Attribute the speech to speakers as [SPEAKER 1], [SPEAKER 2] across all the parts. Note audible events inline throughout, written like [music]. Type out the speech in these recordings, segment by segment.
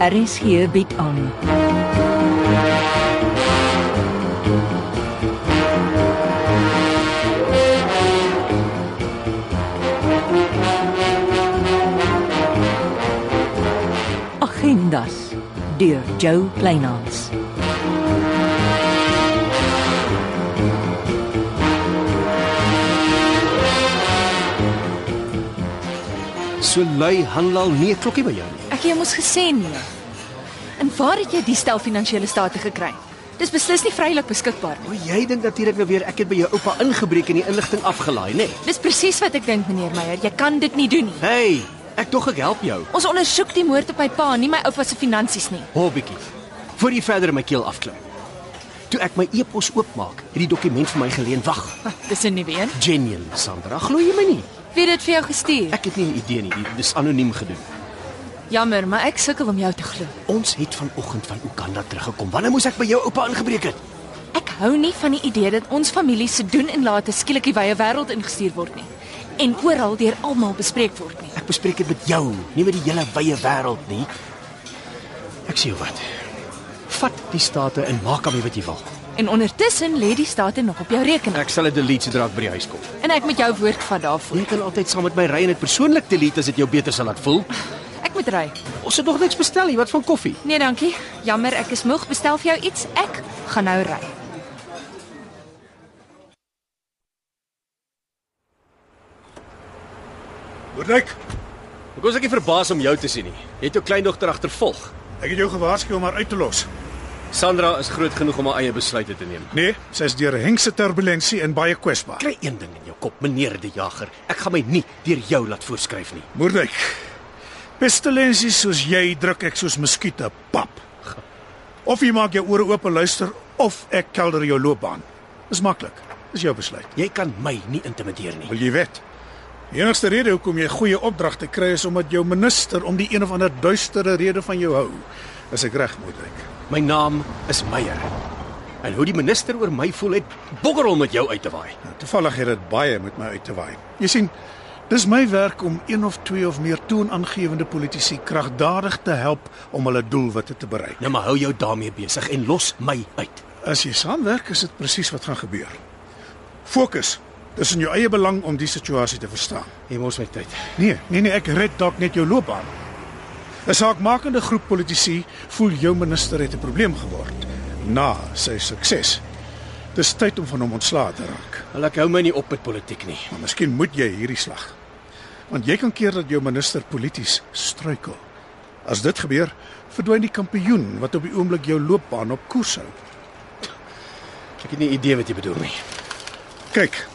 [SPEAKER 1] RSG bied aan. Agendas deur Jo Kleinhans.
[SPEAKER 2] So lui handel nie 'n klokkie by jou nie.
[SPEAKER 3] Ek het jou mos gesê nee. En waar het jy die stel finansiële state gekry? Dis beslis nie vrylik beskikbaar nie.
[SPEAKER 2] O, jy dink natuurlik nou weer ek het by jou oupa ingebreek en die inligting afgelaai, nê? Nee.
[SPEAKER 3] Dis presies wat ek dink, meneer Meyer. Jy kan dit nie doen nie.
[SPEAKER 2] Hey, ek dog ek help jou.
[SPEAKER 3] Ons ondersoek die moord op my pa, nie my oupa se finansies nie.
[SPEAKER 2] Hou bietjie. Voor jy verder in my keel afklim. Toe ek my e-pos oopmaak, het die dokument vir my geleen wag.
[SPEAKER 3] Wat, Dis 'n nuwe een.
[SPEAKER 2] Genuine, Sandra, glo jy my nie?
[SPEAKER 3] Wie het dit vir jou gestuur?
[SPEAKER 2] Ek het nie 'n idee nie, dit is anoniem gedoen.
[SPEAKER 3] Jammer, maar ek sukkel om jou te glo.
[SPEAKER 2] Ons het vanoggend van Uganda teruggekom. Wanneer moes ek by jou oupa ingebreek het?
[SPEAKER 3] Ek hou nie van die idee dat ons familie se doen en late skielik die wye wêreld ingestuur word nie en oral deur almal bespreek word nie.
[SPEAKER 2] Ek bespreek dit met jou, nie met die hele wye wêreld nie. Ek sê jou wat. Vat die state en maak daarmee wat jy wil.
[SPEAKER 3] En ondertussen lê die state nog op jou rekening
[SPEAKER 2] Ek sal dit delete sodra ek by die huis kom.
[SPEAKER 3] en ek moet jou woord vat daarvoor.
[SPEAKER 2] Jy kan altyd saam met my ry en dit persoonlik delete as dit jou beter sal laat voel.
[SPEAKER 3] Ek moet ry.
[SPEAKER 2] Ons het nog niks bestel nie, wat van koffie?
[SPEAKER 3] Nee, dankie. Jammer, ek is moeg. Bestel vir jou iets. Ek gaan nou ry.
[SPEAKER 4] Rodrik,
[SPEAKER 2] Ek was ek nie verbaas om jou te sien nie. Jy het jou kleindogter agtervolg.
[SPEAKER 4] ek het jou gewaarsku om haar uit te los.
[SPEAKER 2] Sandra is groot genoeg om haar eie besluite te neem.
[SPEAKER 4] Nee, sy is deur hengse turbulentie en baie kwesbaar.
[SPEAKER 2] Kry een ding in jou kop, meneer die jager. Ek gaan my nie deur jou laat voorskryf nie.
[SPEAKER 4] Moerdijk. Pestilensies soos jy druk ek soos muskiete pap. Of jy maak jou ore oop en luister of ek kelder jou loopbaan. Dis maklik. Dis jou besluit.
[SPEAKER 2] Jy kan my nie intimideer nie.
[SPEAKER 4] Wil jy weet? Die enigste rede hoekom jy goeie opdragte kry is omdat jou minister om die een of ander duistere rede van jou hou. Is ek reg, Moerdijk?
[SPEAKER 2] My naam is Meyer. En hoe die minister oor my voel het boggerel met jou uit te waai.
[SPEAKER 4] Nou, toevallig het dit baie met my uit te waai. Jy sien, dis my werk om een of twee of meer toonaangewende politici kragdadig te help om hulle doelwitte te bereik.
[SPEAKER 2] Nou maar hou jou daarmee besig en los my uit.
[SPEAKER 4] As jy saamwerk, is dit presies wat gaan gebeur. Fokus. Dis in jou eie belang om die situasie te verstaan.
[SPEAKER 2] Jy mors my tyd.
[SPEAKER 4] Nee, nee nee, ek red dalk net jou loopbaan. 'n Saakmakende groep politici voel jou minister het 'n probleem geword na sy sukses. Dis tyd om van hom ontslae te raak.
[SPEAKER 2] Wel ek hou my nie op met politiek nie.
[SPEAKER 4] Maar miskien moet jy hierdie slag. Want jy kan keer dat jou minister polities struikel. As dit gebeur, verdwyn die kampioen wat op die oomblik jou loopbaan op koers hou.
[SPEAKER 2] Ek het nie idee wat jy bedoel nie.
[SPEAKER 4] Kyk.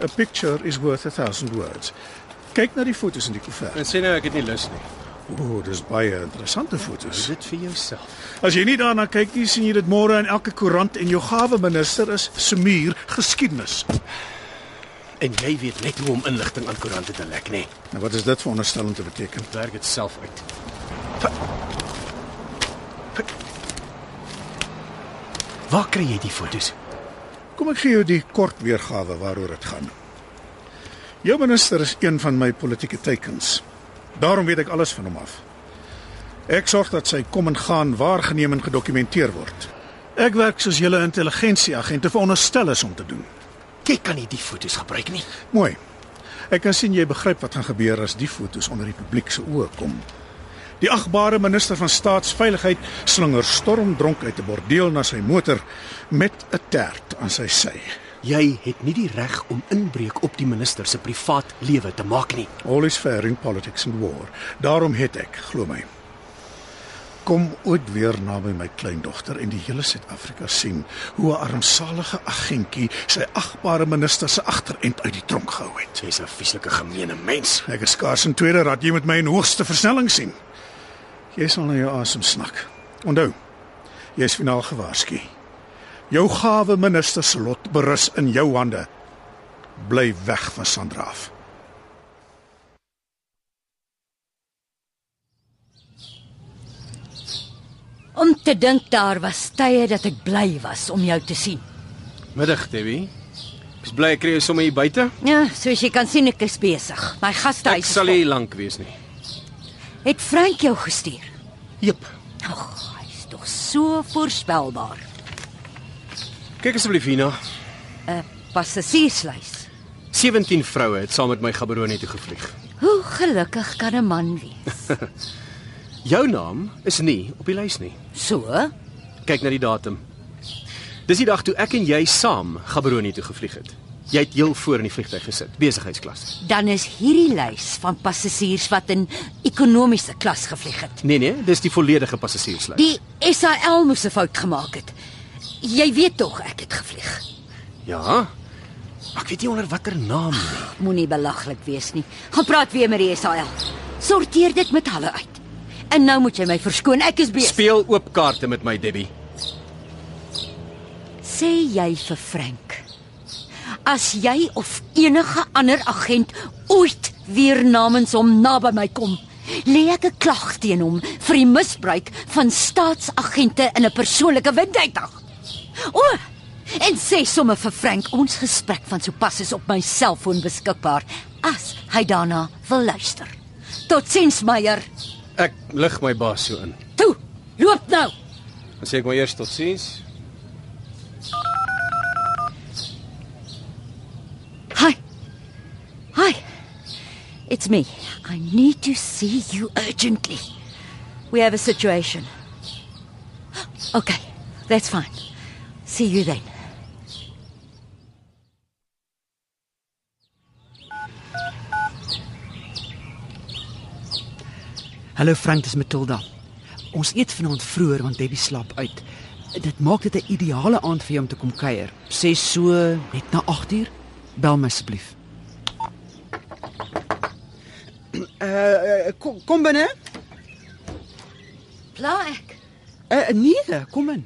[SPEAKER 4] A picture is worth a thousand words. Kyk na die fotos in die koevert.
[SPEAKER 2] sê nou ek het nie lus nie.
[SPEAKER 4] O, dis baie interessante fotos.
[SPEAKER 2] Sit vir jouself.
[SPEAKER 4] As jy nie daarna kyk nie, sien jy dit môre in elke koerant en jou gawe minister is Smuur geskiedenis.
[SPEAKER 2] En jy weet net hoe om inligting aan koerante te lek, nê? Nee.
[SPEAKER 4] Nou wat is dit vir onderstelling te beteken?
[SPEAKER 2] Werk dit self uit. Waar kry jy die fotos?
[SPEAKER 4] Kom ek gee jou die kort weergawe waaroor dit gaan. Jou minister is een van my politieke teikens. Daarom weet ek alles van hom af. Ek sorg dat sy kom en gaan waargeneem en gedokumenteer word. Ek werk soos julle intelligensieagente veronderstel is om te doen.
[SPEAKER 2] Jy kan nie die fotos gebruik nie.
[SPEAKER 4] Mooi. Ek kan sien jy begryp wat gaan gebeur as die fotos onder die publiek se oë kom. Die agbare minister van staatsveiligheid slinger stormdronk uit 'n bordeel na sy motor met 'n tert aan sy sy.
[SPEAKER 2] Jy het nie die reg om inbreuk op die minister se privaat lewe te maak nie.
[SPEAKER 4] All is fair in politics and war. Daarom het ek, glo my. Kom ooit weer naby my kleindogter en die hele Suid-Afrika sien hoe 'n armsalige agentjie sy agbare minister se agterend uit die tronk gehou het.
[SPEAKER 2] Jy's 'n vieslike gemeene mens.
[SPEAKER 4] Ek is skaars in tweede raad jy met my in hoogste versnelling sien. Jy sal na jou asem snak. Onthou, jy is finaal gewaarsku. Jou gawe minister se lot berus in jou hande. Bly weg van Sandra af.
[SPEAKER 1] Om te dink daar was tye dat ek bly was om jou te sien.
[SPEAKER 2] Middag, Debbie. Ek's bly ek kry jou sommer hier buite.
[SPEAKER 1] Ja, soos jy kan sien ek is besig. My gastehuis is vol.
[SPEAKER 2] lank wees nie.
[SPEAKER 1] het Frank jou gestuur.
[SPEAKER 2] Jep.
[SPEAKER 1] Ag, hy's tog so voorspelbaar.
[SPEAKER 2] Kyk asseblief hierna.
[SPEAKER 1] 'n Passasierslys.
[SPEAKER 2] 17 vroue het saam met my Gaborone toe gevlieg.
[SPEAKER 1] Hoe gelukkig kan 'n man wees?
[SPEAKER 2] Jou naam is nie op die lys nie.
[SPEAKER 1] So,
[SPEAKER 2] Kyk na die datum. Dis die dag toe ek en jy saam Gaborone toe gevlieg het. Jy het heel voor in die vliegtyg gesit, besigheidsklas.
[SPEAKER 1] dan is hierdie lys van passasiers wat in ekonomiese klas gevlieg het.
[SPEAKER 2] Nee nee, dis die volledige passasierslys.
[SPEAKER 1] Die SAL moes 'n fout gemaak het. Jy weet tog ek het gevlieg.
[SPEAKER 2] Ja. Ek weet nie onder watter naam nie.
[SPEAKER 1] Moenie belaglik wees nie. Gaan praat weer met die SAL. Sorteer dit met hulle uit. En nou moet jy my verskoon, ek is besig.
[SPEAKER 2] Speel oop kaarte met my Debbie.
[SPEAKER 1] Sê jy vir Frank. As jy of enige ander agent ooit weer namens hom naby my kom, lê ek 'n klag teen hom vir die misbruik van staatsagente in 'n persoonlike windheiddag. O, oh, en sê sommer vir Frank ons gesprek van sopas is op my selfoon beskikbaar as hy daarna wil luister. Totsiens Meyer.
[SPEAKER 2] Ek lig my baas so in.
[SPEAKER 1] Toe, loop nou.
[SPEAKER 2] Dan sê ek maar eers totsiens.
[SPEAKER 1] Hi. Hi. It's me. I need to see you urgently. We have a situation. Okay, that's fine. See you then.
[SPEAKER 5] Hallo Frank, dis Matilda. Ons eet vanaand vroeër want Debbie slaap uit. Dit maak dit 'n ideale aand vir jou om te kom kuier. Sê so net na 8uur. Bel my [clears throat] asseblief. Uh kom kom binne.
[SPEAKER 1] Pla ek.
[SPEAKER 5] Uh nee, kom in.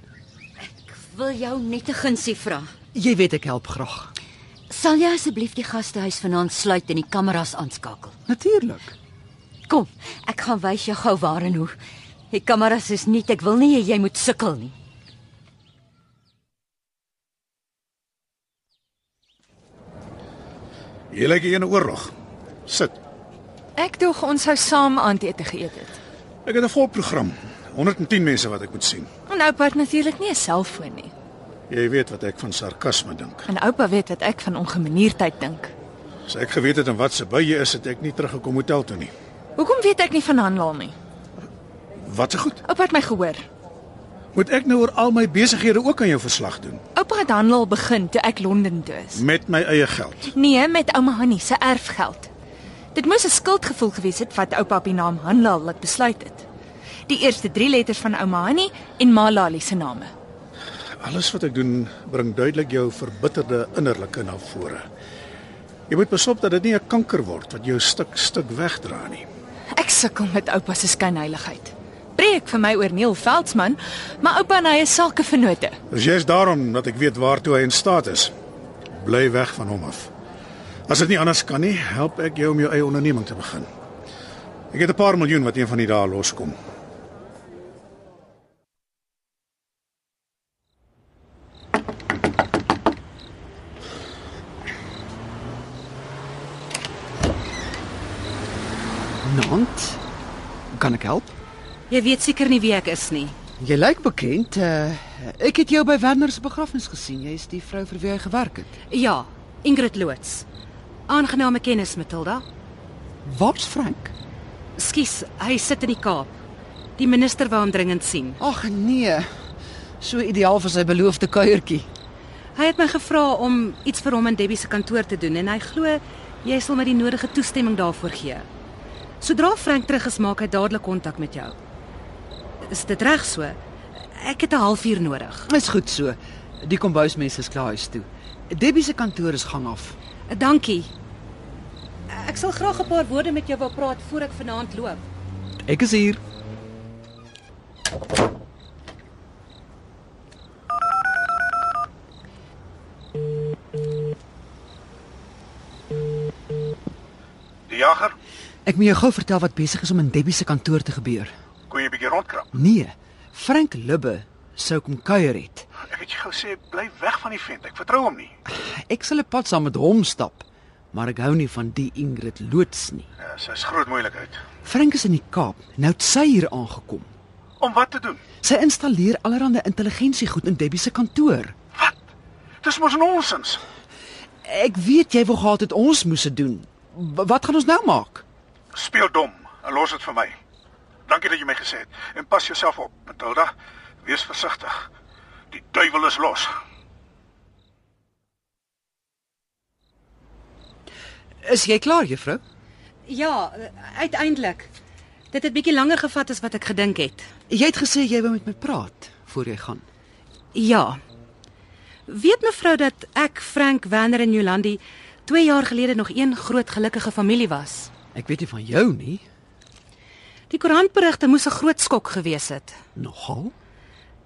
[SPEAKER 1] Ek wil jou net 'n gunsie vra.
[SPEAKER 5] Jy weet ek help graag.
[SPEAKER 1] Sal jy asseblief die gastehuis vanaand sluit en die kameras aanskakel?
[SPEAKER 5] Natuurlik.
[SPEAKER 1] Kom, ek gaan wys jou gou waar en hoe. Die kameras is nie, ek wil nie hê jy moet sukkel nie.
[SPEAKER 4] Jy lyk hier in 'n oorlog. Sit.
[SPEAKER 3] Ek dog ons sou saam aandete geëet het.
[SPEAKER 4] Ek het 'n vol program. 110 mense wat ek moet sien.
[SPEAKER 3] En oupa het natuurlik nie 'n selfoon nie.
[SPEAKER 4] Jy weet wat ek van sarkasme dink.
[SPEAKER 3] En oupa weet wat ek van ongemanierdheid dink.
[SPEAKER 4] As ek geweet het in wat se by jy is, het ek nie teruggekom hotel toe nie.
[SPEAKER 3] Hoekom weet ek nie van handel nie?
[SPEAKER 4] Wat se goed.
[SPEAKER 3] Oupa het my gehoor.
[SPEAKER 4] Moet ek nou oor al my besighede ook aan jou verslag doen
[SPEAKER 3] Oupa het handel begin toe ek Londen toe is.
[SPEAKER 4] met my eie geld?
[SPEAKER 3] Nee, met ouma Hannie se erfgeld. Dit moes 'n skuldgevoel gewees het wat oupa op die naam Handel laat besluit het. Die eerste 3 letters van ouma Hannie en ma Lali se name.
[SPEAKER 4] Alles wat ek doen bring duidelik jou verbitterde innerlike na vore. Jy moet besop dat dit nie 'n kanker word wat jou stuk stuk wegdra nie.
[SPEAKER 3] Ek sukkel met oupa se skynheiligheid. Preek vir my oor Neil Veldsmann, maar oupa en hy is sake vennote.
[SPEAKER 4] Dis juist daarom dat ek weet waartoe hy in staat is. Bly weg van hom af. As dit nie anders kan nie, help ek jou om jou eie onderneming te begin. Ek het 'n paar miljoen wat een van die dae loskom.
[SPEAKER 5] Nant, kan ek help?
[SPEAKER 6] Jy weet seker nie wie ek is nie.
[SPEAKER 5] Jy lyk bekend. Uh ek het jou by Werner se begrafnis gesien. Jy is die vrou vir wie hy gewerk het.
[SPEAKER 6] Ja, Ingrid loods. Aangename kennis, Matilda.
[SPEAKER 5] Waar's Frank?
[SPEAKER 6] Skus, hy sit in die Kaap. Die minister wou hom dringend sien.
[SPEAKER 5] Ag nee. So ideaal vir sy beloofde kuiertjie.
[SPEAKER 6] Hy het my gevra om iets vir hom in Debbie se kantoor te doen en hy glo jy sal my die nodige toestemming daarvoor gee. Sodra Frank terug is, maak hy dadelik kontak met jou. Is dit reg so? Ek het 'n halfuur nodig.
[SPEAKER 5] Is goed so. Die kombuismense is klaar huis toe. Debbie se kantoor is gang af.
[SPEAKER 6] Dankie. Ek sal graag 'n paar woorde met jou wou praat voor ek vanaand loop.
[SPEAKER 5] Ek is hier.
[SPEAKER 7] Die jager,
[SPEAKER 5] Ek moet jou gou vertel wat besig is om in Debbie se kantoor te gebeur.
[SPEAKER 7] kon jy 'n bietjie rondkrap?
[SPEAKER 5] Nee, Frank Lubbe sou kom kuier het.
[SPEAKER 7] Ek het jou gesê bly weg van die vent. Ek vertrou hom nie.
[SPEAKER 5] Ek sal 'n pad saam met hom stap, maar ek hou nie van die Ingrid loods nie.
[SPEAKER 7] Ja, sy is groot moeilikheid.
[SPEAKER 5] Frank is in die Kaap. Nou het sy hier aangekom.
[SPEAKER 4] Om wat te doen?
[SPEAKER 5] Sy installeer allerlei intelligensiegoed in Debbie se kantoor.
[SPEAKER 4] Wat? Dis mos nonsens.
[SPEAKER 5] Ek weet jy wou gehad het ons moes dit doen. W wat gaan ons nou maak?
[SPEAKER 4] Speel dom en los dit vir my. Dankie dat jy my gesê het. En pas jouself op, Matilda. Wees versigtig. Die duiwel is los.
[SPEAKER 5] Is jy klaar, juffrou?
[SPEAKER 3] Ja, uiteindelik. Dit het bietjie langer gevat as wat ek gedink het.
[SPEAKER 5] Jy het gesê jy wou met my praat voor jy gaan.
[SPEAKER 3] Ja. Weet mevrou dat ek Frank Werner en Jolandi 2 jaar gelede nog een groot gelukkige familie was.
[SPEAKER 5] Ek weet nie van jou nie.
[SPEAKER 3] Die koerantberigte moes 'n groot skok gewees het.
[SPEAKER 5] Nogal.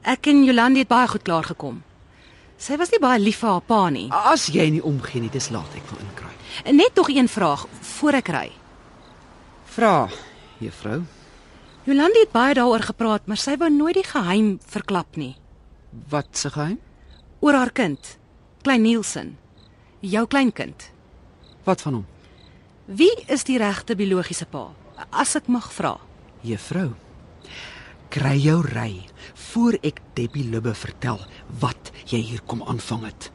[SPEAKER 3] Ek en Jolandi het baie goed klaar gekom. Sy was nie baie lief vir haar pa nie.
[SPEAKER 5] As jy nie omgee nie, dis laat ek wil inkry.
[SPEAKER 3] Net nog een vraag voor ek ry.
[SPEAKER 5] Vra, juffrou,
[SPEAKER 3] Jolandi het baie daaroor gepraat, maar sy wou nooit die geheim verklap nie
[SPEAKER 5] wat se geheim?
[SPEAKER 3] oor haar kind, Klein Nielsen, jou kleinkind.
[SPEAKER 5] Wat van hom?
[SPEAKER 3] Wie is die regte biologiese pa? As ek mag vra.
[SPEAKER 5] Juffrou, kry jou ry voor ek Debbie Lubbe vertel wat jy hier kom aanvang het.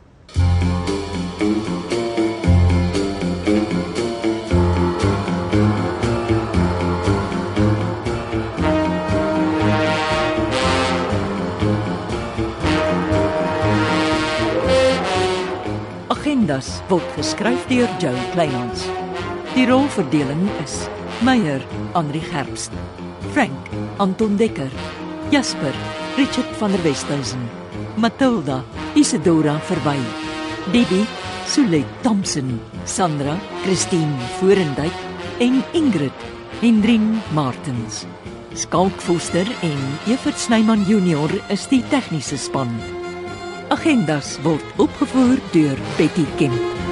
[SPEAKER 1] Agendas word geskryf deur Jo Kleinhans. Die rolverdeling is: Meyer, Andri Gerbst, Frank, Anton Dekker, Jasper, Richard van der Westhuizen, Matilda, Isidora Verwy, Debbie, Sulet Thompson, Sandra, Christine Forendyk en Ingrid Hendrin Martens. Skalk Foster en Evert Snyman Junior is die tegniese span. Agendas word opgevoer deur Betty Kemp.